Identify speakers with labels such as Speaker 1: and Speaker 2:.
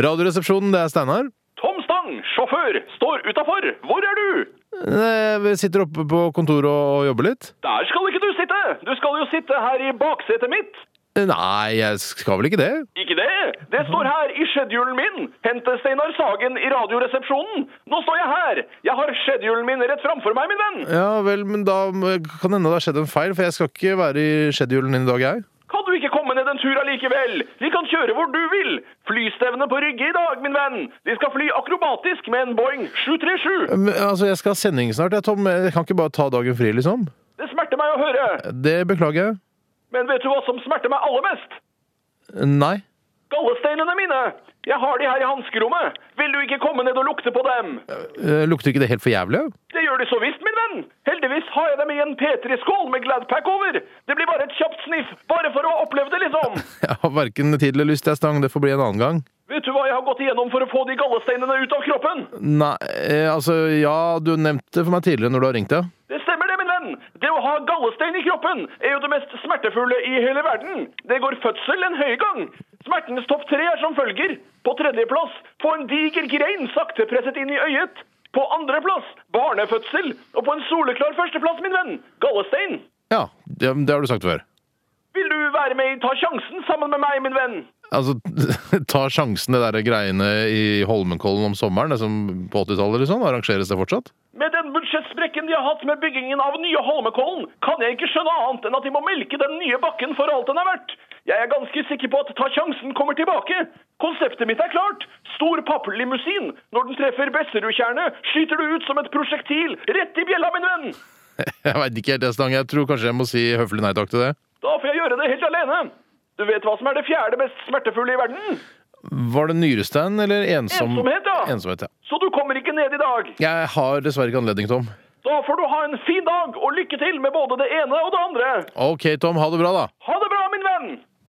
Speaker 1: Radioresepsjonen, det er Steinar.
Speaker 2: Tom Stang, sjåfør, står utafor! Hvor er du?
Speaker 1: Eh, Vi sitter oppe på kontoret og jobber litt.
Speaker 2: Der skal ikke du sitte! Du skal jo sitte her i baksetet mitt!
Speaker 1: Eh, Nei, jeg skal vel ikke det.
Speaker 2: Ikke det? Det står her i schedulen min! Hente Steinar Sagen i Radioresepsjonen! Nå står jeg her! Jeg har schedulen min rett framfor meg, min venn!
Speaker 1: Ja vel, men da må- kan hende det har skjedd en feil, for jeg skal ikke være i schedulen din i dag, jeg.
Speaker 2: Kan du ikke komme ned en tur allikevel? Vi kan kjøre hvor du vil! Flystevne på Rygge i dag, min venn! De skal fly akrobatisk med en Boeing 737!
Speaker 1: Men, altså, jeg skal ha sending snart, jeg, Tom. Jeg kan ikke bare ta dagen fri, liksom.
Speaker 2: Det smerter meg å høre,
Speaker 1: Det beklager jeg.
Speaker 2: men vet du hva som smerter meg aller mest?
Speaker 1: Eh, Nei.
Speaker 2: Gallesteinene mine! Jeg har de her i hanskerommet! Vil du ikke komme ned og lukte på dem?
Speaker 1: Eh, Lukter ikke det helt for jævlig?
Speaker 2: Det gjør de så visst, min venn! Heldigvis har jeg dem i en P3-skål med Gladpack over! Det blir bare et kjapt sniff, bare for å oppleve det, liksom!
Speaker 1: Jeg har verken tid eller lyst, jeg, Stang. Det får bli en annen gang.
Speaker 2: Vet du hva jeg har gått igjennom for å få de gallesteinene ut av kroppen?
Speaker 1: Nei, eh, altså Ja, du nevnte det for meg tidligere når du har ringt, ja.
Speaker 2: Det stemmer det, min venn! Det å ha gallestein i kroppen er jo det mest smertefulle i hele verden! Det går fødsel en høygang! Smertenes topp tre er som følger. På tredjeplass få en diger grein sakte presset inn i øyet. På andreplass barnefødsel. Og på en soleklar førsteplass, min venn, gallestein.
Speaker 1: Ja, det, det har du sagt før.
Speaker 2: Vil du være med i Ta sjansen sammen med meg, min venn?
Speaker 1: Altså, ta sjansen, det der greiene i Holmenkollen om sommeren, det som på 80-tallet eller sånn, arrangeres det fortsatt?
Speaker 2: Med den budsjettsprekken de har hatt med byggingen av nye Holmenkollen, kan jeg ikke skjønne annet enn at de må melke den nye bakken for alt den er verdt. Jeg er ganske sikker på at Ta sjansen kommer tilbake. Konseptet mitt er klart. Stor pappllimousin. Når den treffer Besserudtjernet, skyter du ut som et prosjektil rett i bjella, min venn.
Speaker 1: Jeg veit ikke helt, jeg, Stang. Jeg tror kanskje jeg må si høflig nei takk til det.
Speaker 2: Da får jeg gjøre det helt alene. Du vet hva som er det fjerde mest smertefulle i verden?
Speaker 1: Var det nyrestein eller ensom...
Speaker 2: Ensomhet, ja.
Speaker 1: Ensomhet, ja.
Speaker 2: Så du kommer ikke ned i dag.
Speaker 1: Jeg har dessverre ikke anledning, Tom.
Speaker 2: Da får du ha en fin dag, og lykke til med både det ene og det andre.
Speaker 1: OK, Tom. Ha det bra, da.
Speaker 2: Ha det!